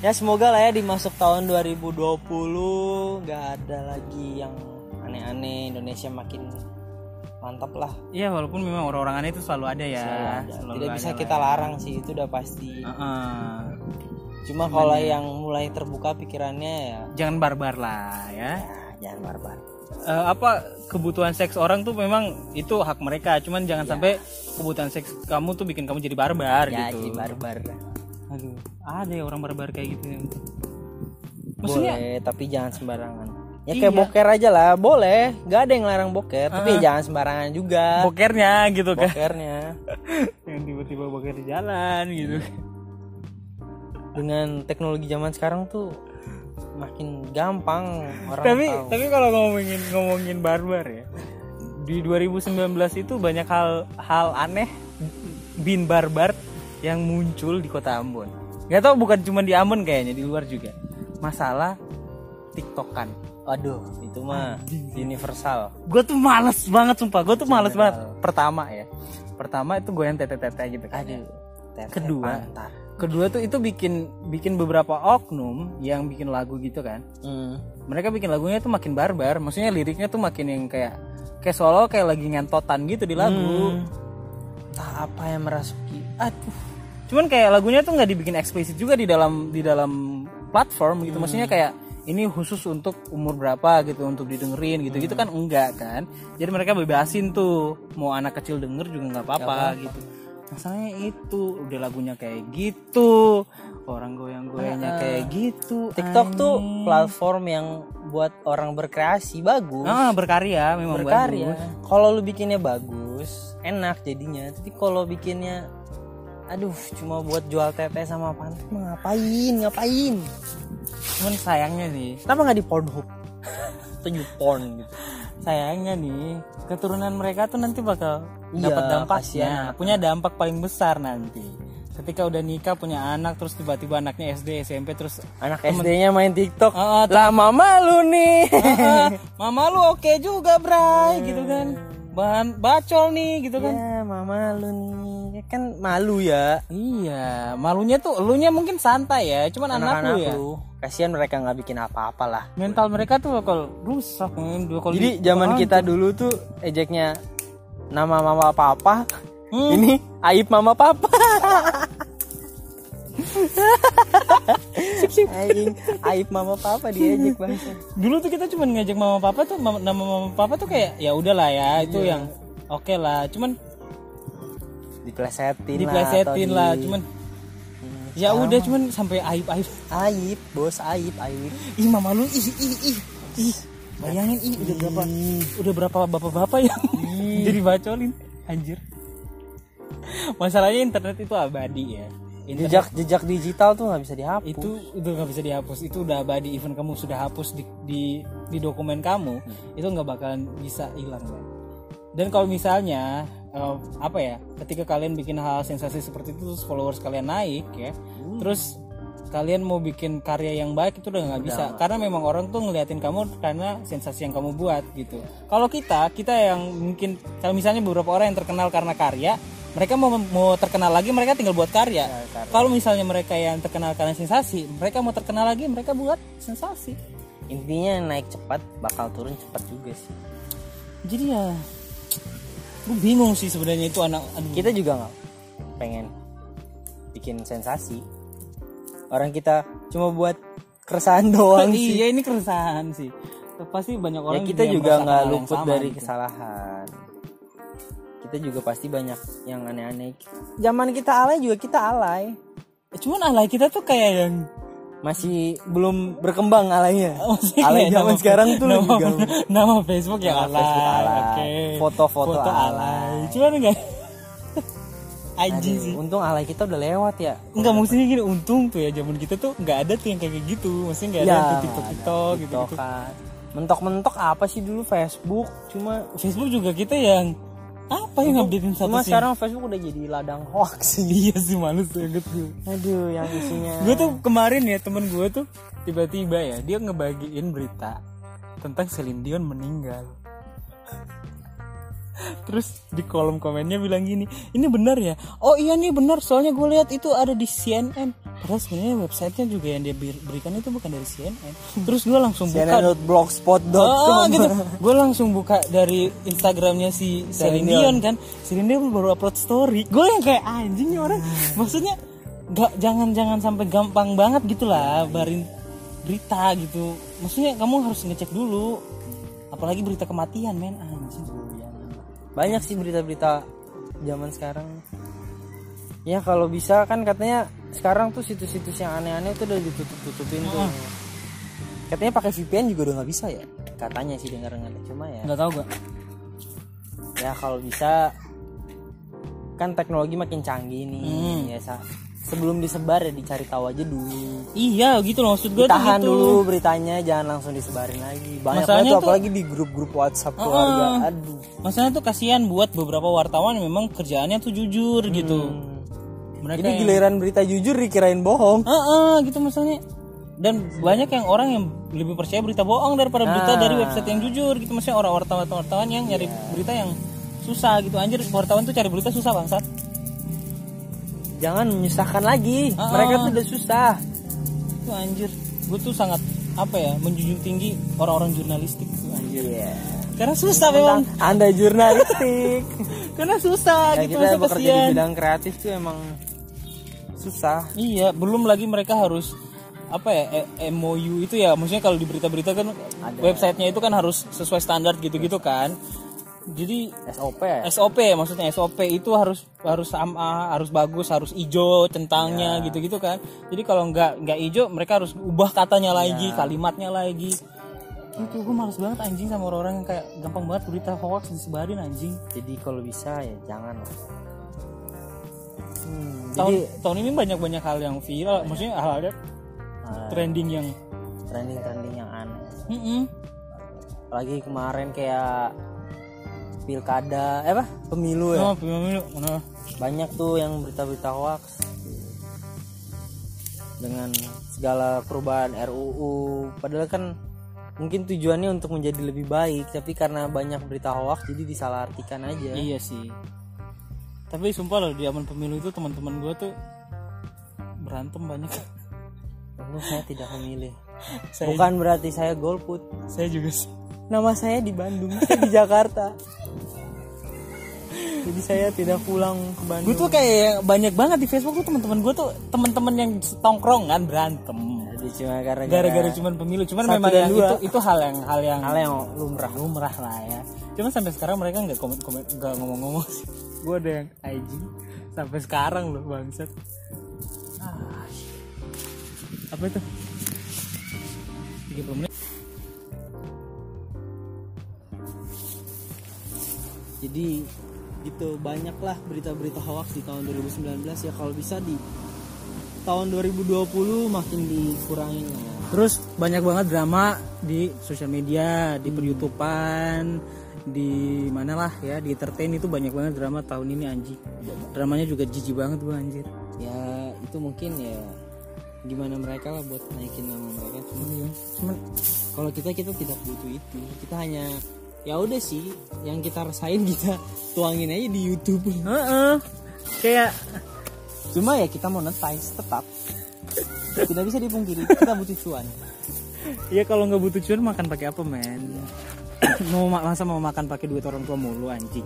B: Ya semoga lah ya dimasuk tahun 2020 nggak ada lagi yang aneh-aneh Indonesia makin mantap lah.
A: Iya walaupun memang orang-orang aneh itu selalu ada ya.
B: Selalu ada. Ah.
A: Selalu
B: Tidak
A: ada
B: bisa
A: lah
B: kita
A: ya.
B: larang sih itu udah pasti.
A: Heeh.
B: Cuma kalau
A: ya.
B: yang mulai terbuka pikirannya ya,
A: Jangan barbar lah ya.
B: nah, jangan barbar.
A: Eh, apa kebutuhan seks orang tuh memang itu hak mereka. Cuman jangan sampai kebutuhan seks kamu tuh bikin kamu jadi barbar
B: Ya
A: gitu.
B: jadi barbar.
A: Aduh, ada ya orang barbar kayak gitu. Maksudnya Iya.
B: Boleh, tapi jangan sembarangan. Ya kayak boker aja lah, boleh. Gak ada yang larang boker, tapi
A: Ah.
B: ya jangan sembarangan juga.
A: bokernya gitu kan.
B: Bokernya
A: Yang tiba-tiba boker di jalan gitu.
B: dengan teknologi zaman sekarang tuh makin gampang orang
A: tapi
B: tahu.
A: tapi kalau ngomongin ngomongin barbar ya di 2019 itu banyak hal hal aneh bin barbar yang muncul di kota Ambon nggak tahu bukan cuma di Ambon kayaknya di luar juga masalah tiktokan
B: Aduh, itu mah universal.
A: gue tuh males banget sumpah gue tuh males banget pertama ya pertama itu gue yang tete-tete gitu kan ya.
B: Aduh. teteh
A: Kedua.
B: pantat.
A: kedua tuh itu bikin bikin beberapa oknum yang bikin lagu gitu kan
B: Hmm.
A: mereka bikin lagunya tuh makin barbar maksudnya liriknya tuh makin yang kayak kayak solo kayak lagi ngentotan gitu di lagu
B: Entah apa yang merasuki. Aduh.
A: cuman kayak lagunya tuh nggak dibikin eksplisit juga di dalam di dalam platform gitu maksudnya kayak ini khusus untuk umur berapa gitu untuk didengerin gitu gitu kan enggak kan jadi mereka bebasin tuh mau anak kecil denger juga nggak apa-apa gitu masalahnya itu udah lagunya kayak gitu orang goyang-goyangnya kayak gitu
B: TikTok tuh platform yang buat orang berkreasi bagus,
A: ah berkarya memang
B: berkarya.
A: bagus.
B: Kalau lu bikinnya bagus, enak jadinya. Tapi kalau bikinnya aduh cuma buat jual tete sama pantat mah ngapain ngapain
A: cuman sayangnya nih
B: kenapa nggak di Pornhub atau di porn gitu
A: sayangnya nih keturunan mereka tuh nanti bakal
B: Iya,
A: dapat dampaknya
B: kasihan.
A: punya dampak paling besar nanti ketika udah nikah punya anak terus tiba-tiba anaknya SD SMP terus
B: anak SD-nya main TikTok
A: Ah, ah,
B: lah mama lu nih
A: "Ah,
B: Iya.
A: mama lu oke juga bray gitu kan bahan bacol nih gitu kan
B: ya mama lu nih Ya kan malu ya
A: iya malunya tuh elunya mungkin santai ya cuman anak, lu ya
B: lu kasihan mereka nggak bikin apa-apa lah
A: mental mereka tuh bakal rusak men. Ah. dua kali
B: Jadi zaman kita dulu tuh ejeknya nama mama papa.
A: Hmm.
B: Ini aib mama papa. Aing, aib mama papa diejek bahasa.
A: dulu tuh kita cuman ngajak mama papa tuh mama, nama mama papa tuh kayak ya udahlah ya itu yang oke lah cuman
B: Diplesetin, lah atau
A: diplesetin
B: di-
A: lah cuman ya udah cuman sampai aib aib
B: aib bos aib aib
A: ih mama lu ih ih ih ih bayangin ih udah berapa
B: Hmm.
A: udah berapa bapak-bapak yang jadi bacolin anjir masalahnya internet itu abadi ya Internet
B: jejak jejak digital tuh nggak bisa dihapus
A: itu udah nggak bisa dihapus itu udah abadi even kamu sudah hapus di di, di dokumen kamu itu nggak bakalan bisa hilang Bang. dan kalau misalnya eh, apa ya ketika kalian bikin hal sensasi seperti itu terus followers kalian naik ya terus kalian mau bikin karya yang baik itu udah nggak bisa karena memang orang tuh ngeliatin kamu karena sensasi yang kamu buat gitu kalau kita kita yang mungkin kalau misalnya beberapa orang yang terkenal karena karya mereka mau mau terkenal lagi mereka tinggal buat Iya, karya kalau misalnya mereka yang terkenal karena sensasi mereka mau terkenal lagi mereka buat sensasi
B: intinya naik cepat bakal turun cepat juga sih
A: jadi ya gue bingung sih sebenarnya itu anak aduh.
B: kita juga nggak pengen bikin sensasi orang kita cuma buat keresahan doang sih
A: iya ini keresahan sih pasti banyak
B: ya
A: orang
B: kita
A: yang
B: juga
A: merasakan
B: nggak
A: hal yang
B: luput
A: sama
B: dari
A: gitu.
B: kesalahan kita juga pasti banyak yang aneh-aneh zaman kita alay juga kita alay
A: cuman alay kita tuh kayak yang
B: masih belum berkembang alaynya alay
A: kayak
B: zaman
A: nama-
B: sekarang tuh
A: nama,
B: lebih gampang
A: nama Facebook ya
B: Nama
A: alay,
B: Facebook alay.
A: oke.
B: Foto-foto alay.
A: cuman enggak aji sih
B: Aduh, untung alay kita udah lewat ya
A: Enggak maksudnya gini untung tuh ya zaman kita tuh nggak ada tuh yang kayak gitu maksudnya nggak ada
B: Ya,
A: yang tuh TikTok TikTok
B: ada
A: gitu gitu
B: TikTokan. Iya, kan. mentok-mentok apa sih dulu Facebook cuma
A: Facebook juga kita yang apa yang updatein
B: cuma
A: statusnya
B: sekarang Facebook udah jadi ladang hoax sih
A: iya sih males banget gue
B: aduh yang isinya
A: gue tuh kemarin ya temen gue tuh tiba-tiba ya dia ngebagiin berita tentang Celine Dion meninggal terus di kolom komennya bilang gini ini benar ya oh iya nih benar soalnya gue lihat itu ada di CNN padahal sebenarnya websitenya juga yang dia bir- berikan itu bukan dari CNN terus gue langsung buka
B: CNN.blogspot.com
A: Ah, gitu. Gue langsung buka dari Instagramnya si Celine Dion kan. Celine Dion baru upload story. Gue yang kayak "Ah, anjing nih orang. Maksudnya gak jangan jangan sampai gampang banget gitu lah barin berita gitu. Maksudnya kamu harus ngecek dulu. Apalagi berita kematian men Ah, anjing.
B: banyak sih berita-berita zaman sekarang ya kalau bisa kan katanya sekarang tuh situs-situs yang aneh-aneh tuh udah ditutup-tutupin tuh katanya pakai VPN juga udah nggak bisa ya katanya sih dengar-dengar cuma ya
A: Gak tau gue.
B: ya kalau bisa kan teknologi makin canggih nih ya Sa. sebelum disebar ya dicari tahu aja dulu
A: Iya gitu loh maksud gue tuh
B: ditahan
A: gitu.
B: dulu beritanya jangan langsung disebarin lagi banyak
A: Masalahnya
B: banget tuh,
A: tuh-
B: apalagi di grup-grup WhatsApp keluarga aduh
A: Maksudnya tuh kasihan buat beberapa wartawan yang memang kerjaannya tuh jujur gitu. Mereka
B: jadi
A: yang-
B: giliran berita jujur dikirain bohong
A: Ah, ah, gitu misalnya. Dan banyak yang orang yang lebih percaya berita bohong daripada berita dari
B: Nah.
A: website yang jujur gitu maksudnya orang wartawan wartawan yang nyari
B: Iya.
A: berita yang susah gitu anjir wartawan tuh cari berita susah bangsat.
B: jangan menyusahkan lagi mereka tuh udah susah
A: Itu anjir. Gue tuh sangat apa ya menjunjung tinggi orang-orang jurnalistik tuh anjir. Karena susah memang.
B: Iya. anda jurnalistik
A: Karena susah
B: ya,
A: gitu
B: kita
A: maksudnya
B: bekerja di
A: kasihan.
B: bidang kreatif tuh emang susah
A: Iya, belum lagi mereka harus apa ya e- MOU itu ya maksudnya kalau di berita-berita kan websitenya itu kan harus sesuai standar gitu-gitu kan jadi
B: SOP
A: SOP maksudnya SOP itu harus harus sama harus bagus harus ijo
B: Ya.
A: centangnya gitu-gitu kan jadi kalau nggak nggak ijo mereka harus ubah katanya lagi
B: Ya.
A: kalimatnya lagi itu gue males banget anjing sama orang-orang yang kayak gampang banget berita hoax disebarin anjing
B: jadi kalau bisa ya jangan lah. Hmm,
A: tahun
B: jadi Ya.
A: tahun ini banyak-banyak hal yang viral maksudnya hal-hal yang trending yang
B: trending trending ah, yang aneh
A: Mm-mm.
B: apalagi kemarin kayak pilkada eh apa pemilu ya
A: Nah, pemilu, nah.
B: banyak tuh yang berita-berita hoax dengan segala perubahan RUU padahal kan mungkin tujuannya untuk menjadi lebih baik tapi karena banyak berita hoax jadi disalahartikan aja
A: Iya sih. Tapi sumpah loh di zaman pemilu itu teman-teman gue tuh berantem banyak.
B: Untung saya tidak memilih
A: saya,
B: bukan berarti saya golput
A: saya juga sih.
B: nama saya di Bandung saya di Jakarta jadi saya tidak pulang ke Bandung
A: Gue tuh kayak banyak banget di Facebook tuh teman-teman gue tuh teman-teman yang tongkrongan berantem.
B: Jadi cuma gara-gara
A: Gara-gara cuman pemilu, cuman
B: Satu
A: memang
B: dan
A: yang
B: dua.
A: itu itu hal yang hal yang
B: hal yang lumrah
A: lumrah lah ya. Cuman sampai sekarang mereka nggak komen komen nggak ngomong-ngomong sih. Gue ada yang IG sampai sekarang loh bangsat. Ah, apa itu 30 menit
B: jadi gitu banyaklah berita-berita hoax di tahun 2019 ya kalau bisa di tahun 2020 makin dikurangin lah ya.
A: terus banyak banget drama di sosial media
B: Hmm.
A: di per youtubean di manalah ya di entertain itu banyak banget drama tahun ini anjing dramanya juga jijik banget gua anjir
B: ya itu mungkin ya gimana mereka lah buat naikin nama mereka ya, cuma
A: cuman
B: kalau kita kita tidak butuh itu kita hanya ya udah sih yang kita rasain kita tuangin aja di YouTube
A: Heeh. kayak
B: cuma ya kita monetize tetap tidak bisa dipungkiri kita butuh cuan
A: ya kalau nggak butuh cuan makan pakai apa men mau ma- masa mau makan pakai duit orang tua mulu anjing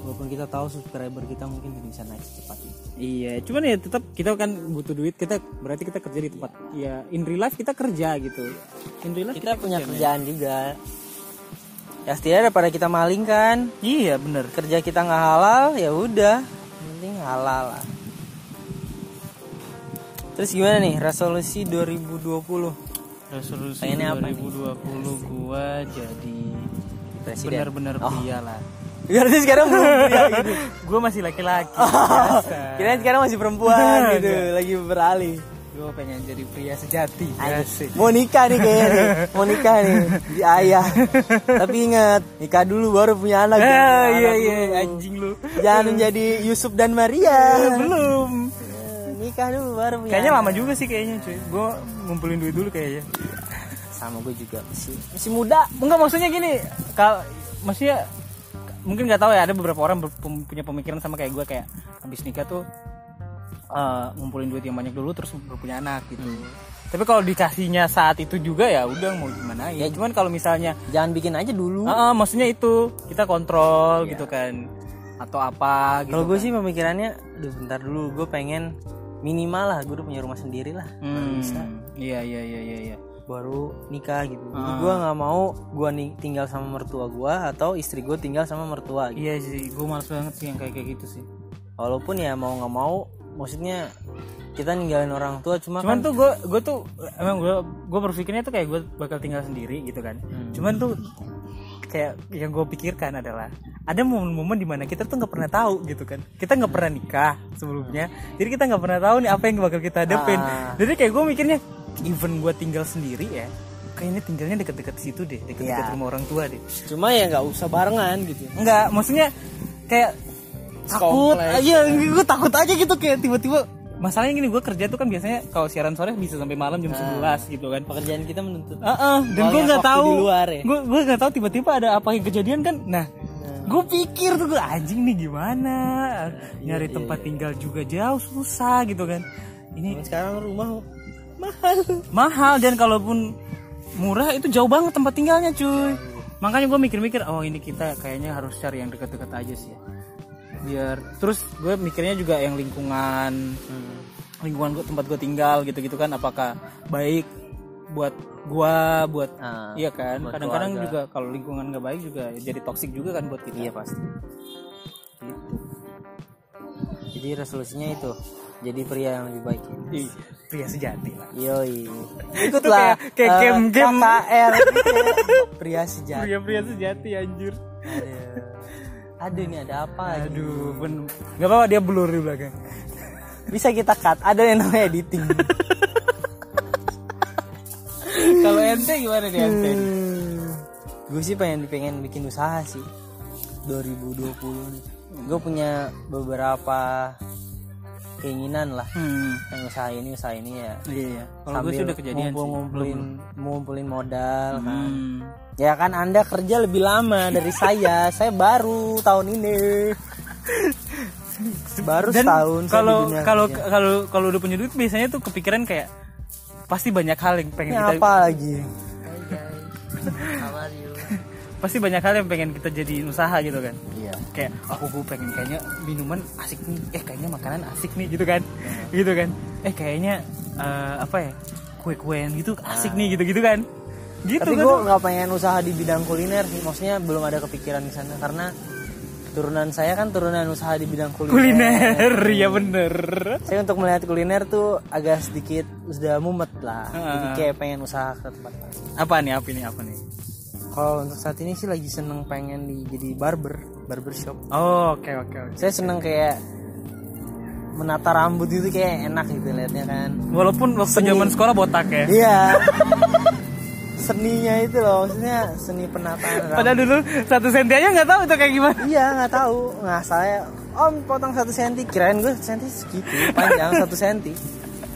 B: walaupun kita tahu subscriber kita mungkin tidak bisa naik secepat itu
A: Iya, cuman ya tetap kita kan butuh duit. Kita berarti kita kerja di tempat ya in real life kita kerja gitu. In real life
B: kita punya kerjaan juga ya setidaknya daripada kita maling kan
A: Iya, bener.
B: kerja kita nggak halal ya udah Yang penting halal lah terus gimana nih resolusi 2020
A: Resolusi
B: Pengennya apa nih?
A: 2020 gua jadi
B: presiden
A: benar-benar pria lah.
B: berarti sekarang belum pria gitu
A: Oh. Gua masih laki-laki.
B: kira sekarang masih perempuan gitu lagi beralih
A: Gua pengen jadi pria sejati.
B: Iya
A: Asik.
B: mau nikah nih kayaknya nih. mau nikah nih di ayah tapi ingat nikah dulu baru punya anak
A: Ah,
B: Punya
A: iya
B: anak
A: iya
B: dulu.
A: anjing lu.
B: jangan menjadi Yusuf dan Maria
A: Belum.
B: Eh, nikah dulu baru punya
A: Kayaknya
B: anak.
A: lama juga sih kayaknya cuy. Gua ngumpulin duit dulu kayaknya.
B: sama gue juga masih masih muda
A: Enggak maksudnya gini, kalau maksudnya mungkin nggak tahu ya ada beberapa orang ber- pem- punya pemikiran sama kayak gue kayak habis nikah tuh eh, ngumpulin duit yang banyak dulu terus baru punya anak gitu.
B: Hmm.
A: Tapi kalau dikasihnya saat itu juga ya udah mau gimana ya. Cuman kalau misalnya
B: jangan bikin aja dulu
A: "Ah, ah, maksudnya itu kita kontrol
B: Ya.
A: gitu kan atau apa gitu.
B: kalau gue sih pemikirannya aduh bentar dulu gue pengen minimal lah gue udah punya rumah sendiri lah
A: Hmm, Iya iya iya iya iya.
B: baru nikah gitu Jadi gue nggak mau gue nih tinggal sama mertua gue atau istri gue tinggal sama mertua gitu
A: Iya sih, gue males banget sih yang kayak kayak gitu sih.
B: walaupun ya mau nggak mau maksudnya kita ninggalin orang tua cuma,
A: cuman
B: kan
A: tuh gue gue tuh emang gue gue berpikirnya tuh kayak gue bakal tinggal sendiri gitu kan
B: Hmm.
A: cuman tuh kayak yang gue pikirkan adalah ada momen-momen dimana kita tuh nggak pernah tahu gitu kan kita nggak pernah nikah sebelumnya jadi kita nggak pernah tahu nih apa yang bakal kita hadapin
B: Ah.
A: jadi kayak gue mikirnya even gue tinggal sendiri ya kayaknya tinggalnya deket-deket situ deh deket-deket
B: Iya.
A: rumah orang tua deh
B: cuma ya nggak usah barengan gitu
A: Enggak, maksudnya kayak takut.
B: Kompleks.
A: Iya, gue takut aja gitu kayak tiba-tiba masalahnya gini gue kerja tuh kan biasanya kalau siaran sore bisa sampai malam jam 11 gitu kan.
B: pekerjaan kita menuntut
A: Heeh, dan
B: Banyak
A: gue nggak
B: waktu
A: tahu.
B: di luar ya.
A: Gue gue nggak tahu tiba-tiba ada apa yang kejadian kan. Nah, gue pikir tuh gue anjing nih gimana nyari tempat tinggal juga jauh susah gitu kan. Ini
B: Cuman sekarang rumah mahal
A: mahal dan kalaupun murah itu jauh banget tempat tinggalnya cuy makanya gue mikir-mikir oh ini kita kayaknya harus cari yang dekat-dekat aja sih ya biar terus gue mikirnya juga yang lingkungan lingkungan gua, tempat gue tinggal gitu-gitu kan apakah baik buat gua buat
B: Ah,
A: iya kan
B: buat
A: kadang-kadang
B: keluarga.
A: juga kalau lingkungan nggak baik juga ya jadi toksik juga kan buat kita
B: iya pasti jadi resolusinya itu jadi pria yang lebih baik
A: Ih, pria sejati lah
B: yoi
A: kayak-
B: ikutlah
A: kayak
B: eh,
A: game-game.
B: KKR pria sejati
A: pria-pria sejati anjir
B: aduh aduh ini ada apa lagi
A: aduh ben nggak apa-apa dia blur di belakang
B: bisa kita cut ada yang namanya editing
A: kalau ente gimana nih ente
B: gue sih pengen pengen bikin usaha sih 2020 nih gue punya beberapa keinginan lah
A: Hmm.
B: yang usaha ini usaha ini ya
A: Iya. Kalau gue sih udah kejadian sih.
B: ngumpulin ngumpulin modal kan.
A: Hmm.
B: ya kan anda kerja lebih lama dari saya saya baru tahun ini baru
A: Dan
B: setahun saya
A: kalau
B: di dunia
A: kalau
B: kerja.
A: kalau kalau udah punya duit biasanya tuh kepikiran kayak pasti banyak hal yang pengen
B: ini
A: kita
B: apa lagi
A: pasti banyak hal yang pengen kita jadiin usaha gitu kan.
B: iya
A: Kayak aku gue pengen kayaknya minuman asik nih, eh kayaknya makanan asik nih gitu kan. Gitu kan. Eh kayaknya eh, apa ya? Kue-kuean gitu asik nih gitu-gitu kan. Gitu
B: tapi
A: kan.
B: gue nggak pengen usaha di bidang kuliner sih maksudnya belum ada kepikiran di sana karena turunan saya kan turunan usaha di bidang kuliner.
A: kuliner ya bener
B: Saya untuk melihat kuliner tuh agak sedikit sudah mumet lah. Jadi
A: Ah.
B: kayak pengen usaha ke tempat lain.
A: apa nih apa nih apa nih
B: Kalau untuk saat ini sih lagi seneng pengen di, jadi barber, barbershop.
A: oh oke oke oke
B: Saya seneng kayak menata rambut itu kayak enak gitu liatnya kan.
A: walaupun waktu zaman sekolah botak ya
B: Iya. Seninya itu loh, maksudnya seni penataan rambut.
A: padahal dulu satu senti aja nggak tahu itu kayak gimana
B: Iya nggak tahu, nggak saya om potong satu senti, kirain gue senti segitu panjang satu senti.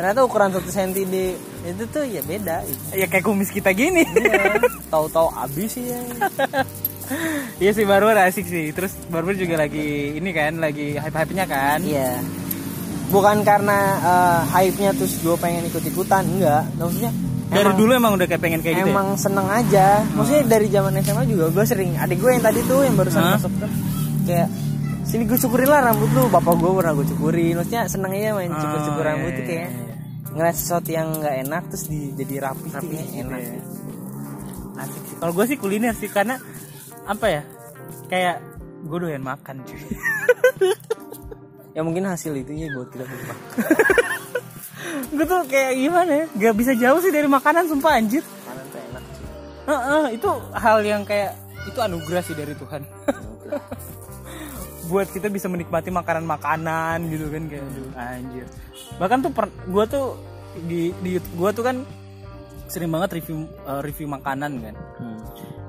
B: Ternyata ukuran satu senti di itu tuh ya beda. Gitu.
A: ya kayak kumis kita gini
B: Iya, Tahu-tahu abis sih ya.
A: Iya sih Barber asik sih. Terus Barber juga lagi ini kan lagi hype-hype-nya kan.
B: Iya. Bukan karena eh, hype-nya terus gue pengen ikut-ikutan, enggak. Maksudnya
A: Dari
B: emang-
A: dulu emang udah kayak pengen kayak gitu. ya? Hmm.
B: emang seneng aja maksudnya dari zaman SMA juga gue sering adik gue yang tadi tuh yang barusan
A: Hah?
B: masuk tuh kayak sini gue cukurin lah rambut lu bapak gue pernah gue cukurin maksudnya seneng aja main
A: Ah,
B: cukur cukur
A: iya,
B: rambut tuh
A: iya,
B: kayak
A: iya.
B: ngeliat sesuatu yang nggak enak terus di, jadi rapi tuh
A: Tapi
B: kayak
A: gitu
B: enak
A: ya. Asik sih. Kalau gue sih kuliner sih karena apa ya? Kayak gue doyan makan cuy.
B: ya mungkin hasil itunya gue tidak berubah
A: gue tuh kayak gimana ya? Gak bisa jauh sih dari makanan sumpah anjir.
B: karena tuh enak sih.
A: Heeh, itu hal yang kayak itu anugerah sih dari Tuhan. buat kita bisa menikmati makanan-makanan gitu kan kayak aduh,
B: Hmm.
A: anjir. Bahkan tuh per, gua tuh di di YouTube gua tuh kan sering banget review eh, review makanan kan.
B: Hmm.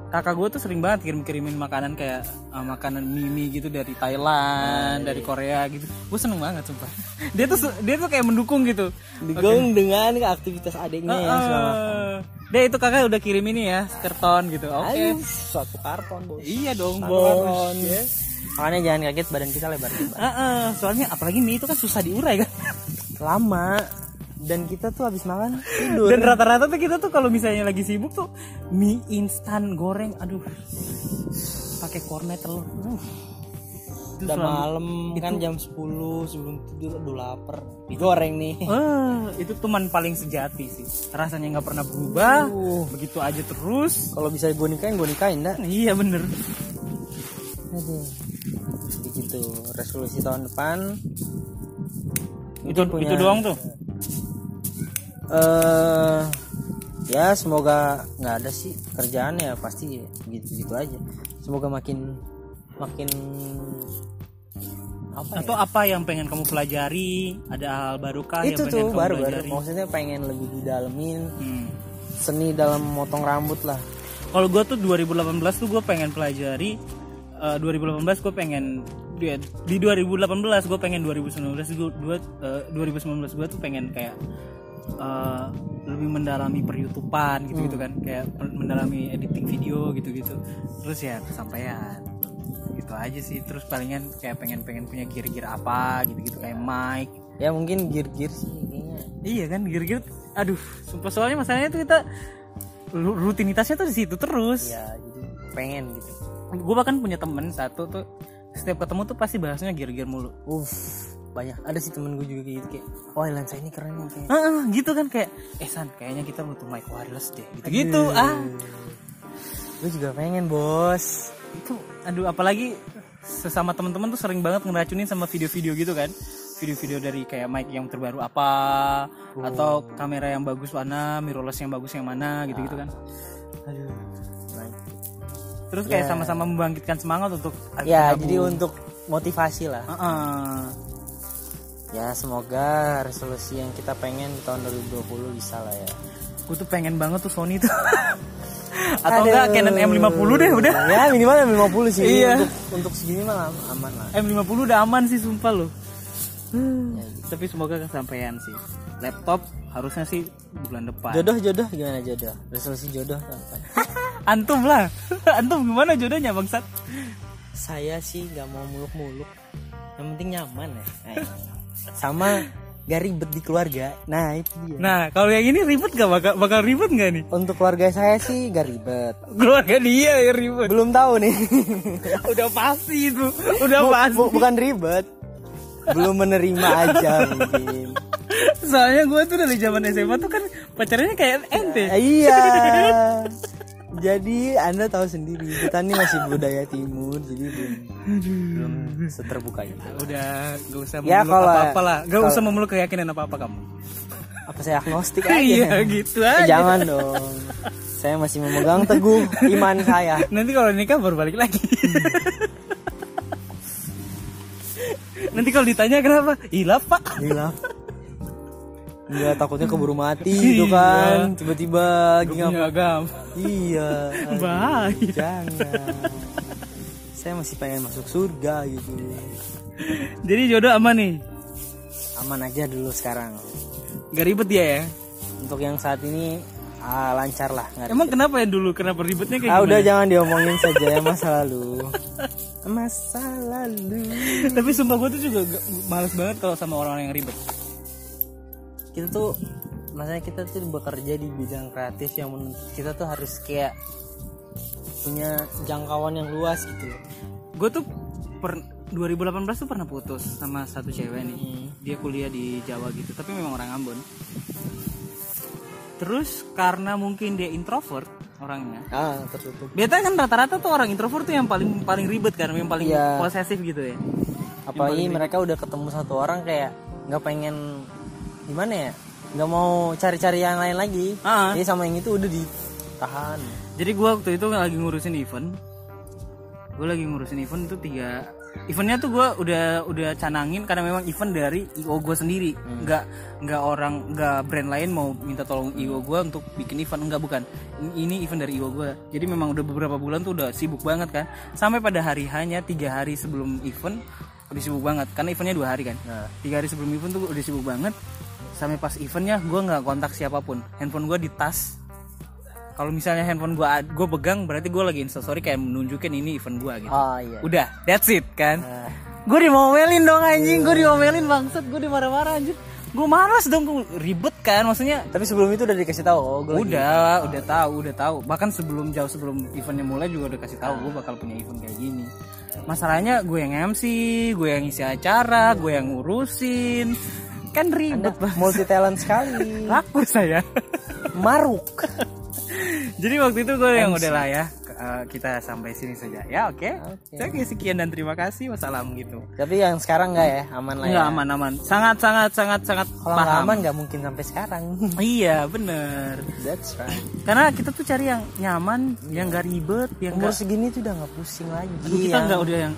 A: Kakak gue tuh sering banget kirim-kirimin makanan kayak eh, makanan mimi gitu dari Thailand, dari Korea gitu. Gue seneng banget sumpah. Dia tuh se- dia tuh kayak mendukung gitu.
B: Digong dengan aktivitas adiknya
A: Ah, Iya,
B: yang suka makan.
A: Heeh. Dia itu kakak udah kirim ini ya, karton gitu. Oke.
B: Ayo, suatu karton bos.
A: Iya dong,
B: Karton.
A: bos.
B: Makanya jangan kaget badan kita lebar-lebar.
A: Heeh, ah. soalnya apalagi mie itu kan susah diurai kan.
B: lama dan kita tuh habis makan tidur
A: Dan rata-rata tuh kita tuh kalau misalnya lagi sibuk tuh mie instan goreng, aduh. Pakai kornet telur.
B: Hmm.
A: Uh. Itu
B: udah
A: selalu-
B: malam kan jam 10 sebelum tidur aduh lapar digoreng nih
A: Eh, itu teman paling sejati sih. Rasanya nggak pernah berubah,
B: Uh.
A: begitu aja terus.
B: kalau bisa gue nikahin gue nikahin dah
A: Iya bener.
B: aduh jadi gitu resolusi tahun depan
A: Itu
B: punya-
A: itu doang tuh.
B: eh ya semoga nggak ada sih kerjaan ya pasti gitu gitu aja semoga makin makin apa Ah, ya?
A: Atau apa yang pengen kamu pelajari? Ada hal baru kah
B: itu
A: yang pengen
B: tuh
A: kamu
B: baru baru
A: pelajari?
B: maksudnya pengen lebih didalemin
A: Hmm.
B: seni dalam memotong rambut lah
A: Kalau gue tuh 2018 tuh gue pengen pelajari eh, 2018 gue pengen di, di 2018 gue pengen 2019 gue eh, 2019 gue tuh pengen kayak eh, lebih mendalami peryoutuban gitu gitu kan kayak per- mendalami editing video gitu gitu terus ya kesampaian gitu aja sih terus palingan kayak pengen pengen punya gear-gear apa gitu gitu kayak mic
B: ya mungkin gear-gear sih kayaknya
A: Iya kan gear-gear aduh sumpah soalnya masalahnya tuh kita lu- rutinitasnya tuh di situ terus
B: ya jadi pengen gitu
A: gue bahkan punya temen satu tuh setiap ketemu tuh pasti bahasnya gear-gear mulu
B: uff banyak ada sih temen gue juga kayak gitu kayak wah lensa ini keren nih kayak
A: Heeh, gitu kan kayak eh san kayaknya kita butuh mic wireless deh gitu gitu ah
B: gue juga pengen bos
A: itu aduh apalagi sesama teman-teman tuh sering banget ngeracunin sama video-video gitu kan video-video dari kayak mic yang terbaru apa atau kamera yang bagus mana mirrorless yang bagus yang mana gitu gitu kan
B: aduh baik.
A: terus kayak sama-sama membangkitkan semangat untuk ayo
B: ya
A: kita
B: jadi untuk motivasi lah
A: Heeh.
B: ya semoga resolusi yang kita pengen di tahun 2020 bisa lah ya
A: Gue tuh pengen banget tuh Sony tuh. Atau enggak Canon M50 deh udah.
B: ya minimal 50 sih
A: Iya.
B: untuk, untuk segini mah aman lah
A: M50 udah aman sih sumpah lo.
B: Hmm.
A: Tapi semoga kesampaian sih. Laptop harusnya sih bulan depan.
B: jodoh jodoh gimana jodoh resolusi jodoh apa
A: Antum lah. Antum gimana jodohnya bangsat?
B: saya sih nggak mau muluk-muluk yang penting nyaman ya Eh, sama gak ribet di keluarga nah itu dia
A: Nah, kalau yang ini ribet gak bakal bakal ribet gak nih?
B: untuk keluarga saya sih gak ribet
A: Keluarga dia ya ribet.
B: belum tahu nih
A: Udah pasti itu. Udah pasti.
B: Bu- bukan ribet belum menerima aja mungkin Ya.
A: Soalnya gue tuh dari zaman SMA tuh kan pacarnya kayak ente.
B: Eh, iya Eh, jadi anda tahu sendiri kita ini masih budaya timur jadi belum belum seterbuka itu
A: udah gak usah
B: Ya,
A: memeluk
B: kalau-
A: apa-apa lah gak
B: kalau-
A: usah memeluk keyakinan apa apa kamu
B: apa saya agnostik aja
A: iya gitu
B: Eh,
A: aja
B: jangan dong saya masih memegang teguh iman saya
A: nanti kalau nikah baru balik lagi nanti kalau ditanya kenapa hilaf pak
B: gila Iya takutnya keburu mati
A: Iya.
B: gitu kan tiba-tiba lagi ngap-
A: punya agama
B: iya
A: Bahaya.
B: jangan saya masih pengen masuk surga gitu
A: jadi jodoh aman nih
B: aman aja dulu sekarang
A: gak ribet dia ya
B: untuk yang saat ini ah, lancar lah nggak
A: emang kenapa ya dulu kenapa ribetnya kayak
B: ah
A: gimana?
B: udah jangan diomongin saja ya masa lalu masa lalu
A: tapi sumpah gue tuh juga gak- males banget kalau sama orang-orang yang ribet
B: kita tuh maksudnya kita tuh bekerja di bidang kreatif yang menuntut kita tuh harus kayak punya jangkauan yang luas gitu loh
A: gue tuh per 2018 tuh pernah putus sama satu cewek nih dia kuliah di Jawa gitu tapi memang orang Ambon terus karena mungkin dia introvert orangnya
B: ah tertutup
A: biasanya kan rata-rata tuh orang introvert tuh yang paling paling ribet kan yang paling
B: Iya.
A: posesif gitu ya
B: apalagi mereka udah ketemu satu orang kayak nggak pengen gimana ya nggak mau cari-cari yang lain lagi
A: Ah.
B: jadi sama yang itu udah ditahan
A: jadi gue waktu itu lagi ngurusin event gue lagi ngurusin event itu tiga eventnya tuh gue udah udah canangin karena memang event dari io gue sendiri nggak nggak orang nggak brand lain mau minta tolong io gue untuk bikin event nggak bukan ini event dari io gue jadi memang udah beberapa bulan tuh udah sibuk banget kan sampai pada hari hanya tiga hari sebelum event udah sibuk banget karena eventnya dua hari kan
B: Nah.
A: tiga hari sebelum event tuh udah sibuk banget sampai pas eventnya gue nggak kontak siapapun handphone gue di tas kalau misalnya handphone gue gue pegang berarti gue lagi instastory kayak menunjukin ini event gue gitu
B: ah iya
A: udah that's it kan
B: Nah,
A: gue diomelin dong anjing gue diomelin bangsat gue dimarah-marah anjir gue malas dong gue ribet kan maksudnya
B: tapi sebelum itu udah dikasih tahu oh, gue lagi-
A: udah udah tahu udah tahu bahkan sebelum jauh sebelum eventnya mulai juga udah kasih tahu gue bakal punya event kayak gini masalahnya gue yang MC gue yang ngisi acara gue yang ngurusin kan ribet banget
B: multi talent sekali
A: laku saya
B: maruk
A: Jadi waktu itu gue yang udah lah ya eh, kita sampai sini saja ya oke.
B: Oke.
A: Oke sekian dan terima kasih wassalam gitu.
B: tapi yang sekarang nggak ya aman lah ya
A: Enggak aman aman sangat sangat sangat sangat
B: kalau nggak
A: paham.
B: aman nggak mungkin sampai sekarang
A: Iya bener
B: that's right
A: karena kita tuh cari yang nyaman yang gak ribet yang
B: umur
A: gak
B: segini tuh udah nggak pusing lagi
A: Aduh, kita
B: yang-
A: nggak udah yang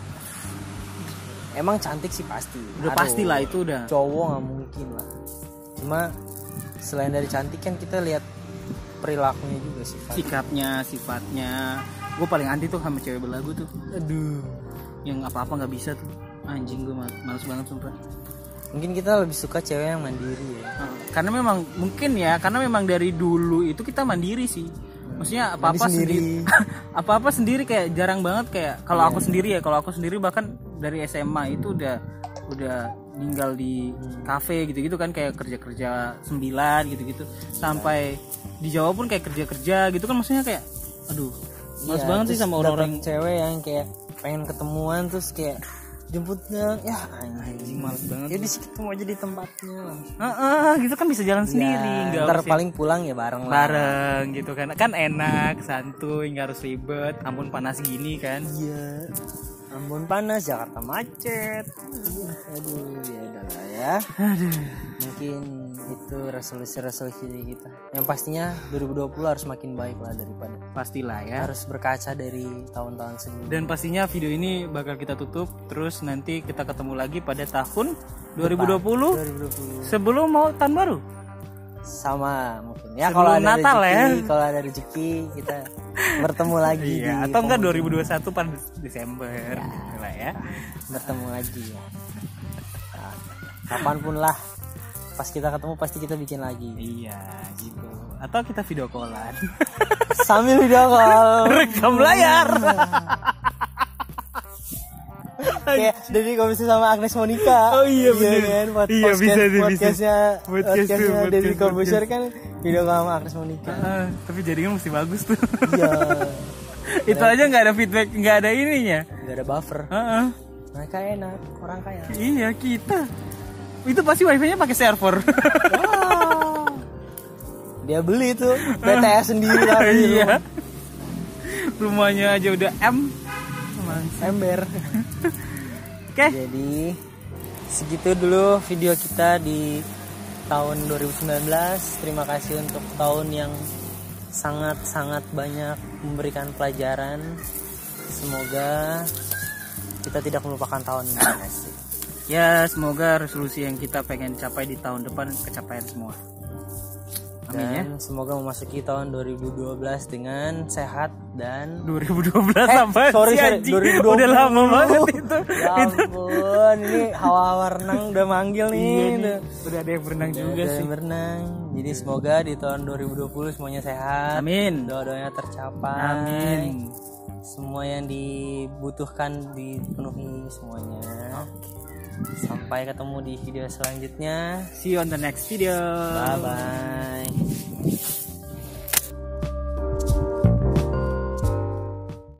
B: emang cantik sih pasti
A: udah
B: Harus.
A: pasti lah itu udah.
B: cowok nggak mungkin lah cuma selain dari cantik kan kita lihat perilakunya juga sih Fat.
A: sikapnya sifatnya gue paling anti tuh sama cewek belagu tuh
B: aduh
A: yang apa apa nggak bisa tuh anjing gue males banget sumpah.
B: mungkin kita lebih suka cewek yang mandiri ya
A: Nah, karena memang mungkin ya karena memang dari dulu itu kita mandiri sih maksudnya apa apa
B: Mandi sendiri.
A: sendiri apa apa sendiri kayak jarang banget kayak kalau
B: Iya.
A: aku sendiri ya kalau aku sendiri bahkan dari SMA itu udah udah tinggal di
B: Hmm.
A: kafe gitu gitu kan kayak kerja kerja sembilan gitu gitu sampai di Jawa pun kayak kerja kerja gitu kan maksudnya kayak aduh males
B: Iya,
A: banget sih
B: terus
A: sama
B: dapet
A: orang-orang
B: cewek yang kayak pengen ketemuan terus kayak jemputnya ya anjing
A: males banget
B: jadi kita mau jadi tempatnya
A: Heeh, gitu kan bisa jalan sendiri nggak
B: ya, ntar
A: harus yang-
B: paling pulang ya bareng lah
A: bareng gitu kan kan enak santuy nggak harus ribet ampun panas gini kan
B: Iya. Ambon panas, Jakarta macet. Aduh, ya udah lah ya. Mungkin itu resolusi-resolusi dari kita. Yang pastinya 2020 harus makin baik lah daripada
A: pastilah ya
B: harus berkaca dari tahun-tahun sebelumnya.
A: dan pastinya video ini bakal kita tutup terus nanti kita ketemu lagi pada tahun 2020
B: 2020
A: sebelum mau tahun baru
B: sama mungkin ya
A: Sebelum
B: kalau ada
A: Natal
B: rezeki,
A: ya.
B: kalau ada rezeki kita bertemu lagi
A: iya
B: di
A: atau enggak 2021 pada Desember gitu lah ya
B: bertemu lagi ya. Nah, kapanpun lah pas kita ketemu pasti kita bikin lagi.
A: iya gitu atau kita video callan
B: sambil video call
A: rekam layar
B: kayak dari komisi sama Agnes Monica
A: Oh iya, bener.
B: kan? Pod-
A: Iya,
B: podcast-
A: bisa sih, bisa.
B: podcastnya
A: Podcast tuh,
B: podcastnya
A: podcast,
B: dari
A: podcast.
B: Komposer kan video call sama Agnes Monica
A: Ah, tapi jadinya mesti bagus tuh
B: iya
A: itu aja nggak ada feedback nggak ada ininya
B: gak ada buffer
A: Heeh.
B: mereka enak orang kaya
A: Iya kita. Itu pasti wifi-nya pakai server. Ya,
B: dia beli tuh PTS sendiri tapi
A: iya. rumahnya aja udah M
B: ember
A: oke
B: jadi segitu dulu video kita di tahun 2019 terima kasih untuk tahun yang sangat-sangat banyak memberikan pelajaran semoga kita tidak melupakan tahun ini Asik.
A: ya semoga resolusi yang kita pengen capai di tahun depan kecapaian semua amin ya
B: dan semoga memasuki tahun 2012 dengan sehat dan
A: 2012 sampai
B: sorry, sorry, 2020.
A: udah lama banget itu
B: ya ampun ini hawa-hawa renang udah manggil nih
A: Iya
B: udah.
A: nih, udah ada yang berenang juga
B: Udah
A: sih
B: berenang jadi semoga di tahun 2020 semuanya sehat
A: amin
B: doa-doanya tercapai
A: amin
B: semua yang dibutuhkan dipenuhi semuanya sampai ketemu di video selanjutnya
A: see you on the next video
B: bye bye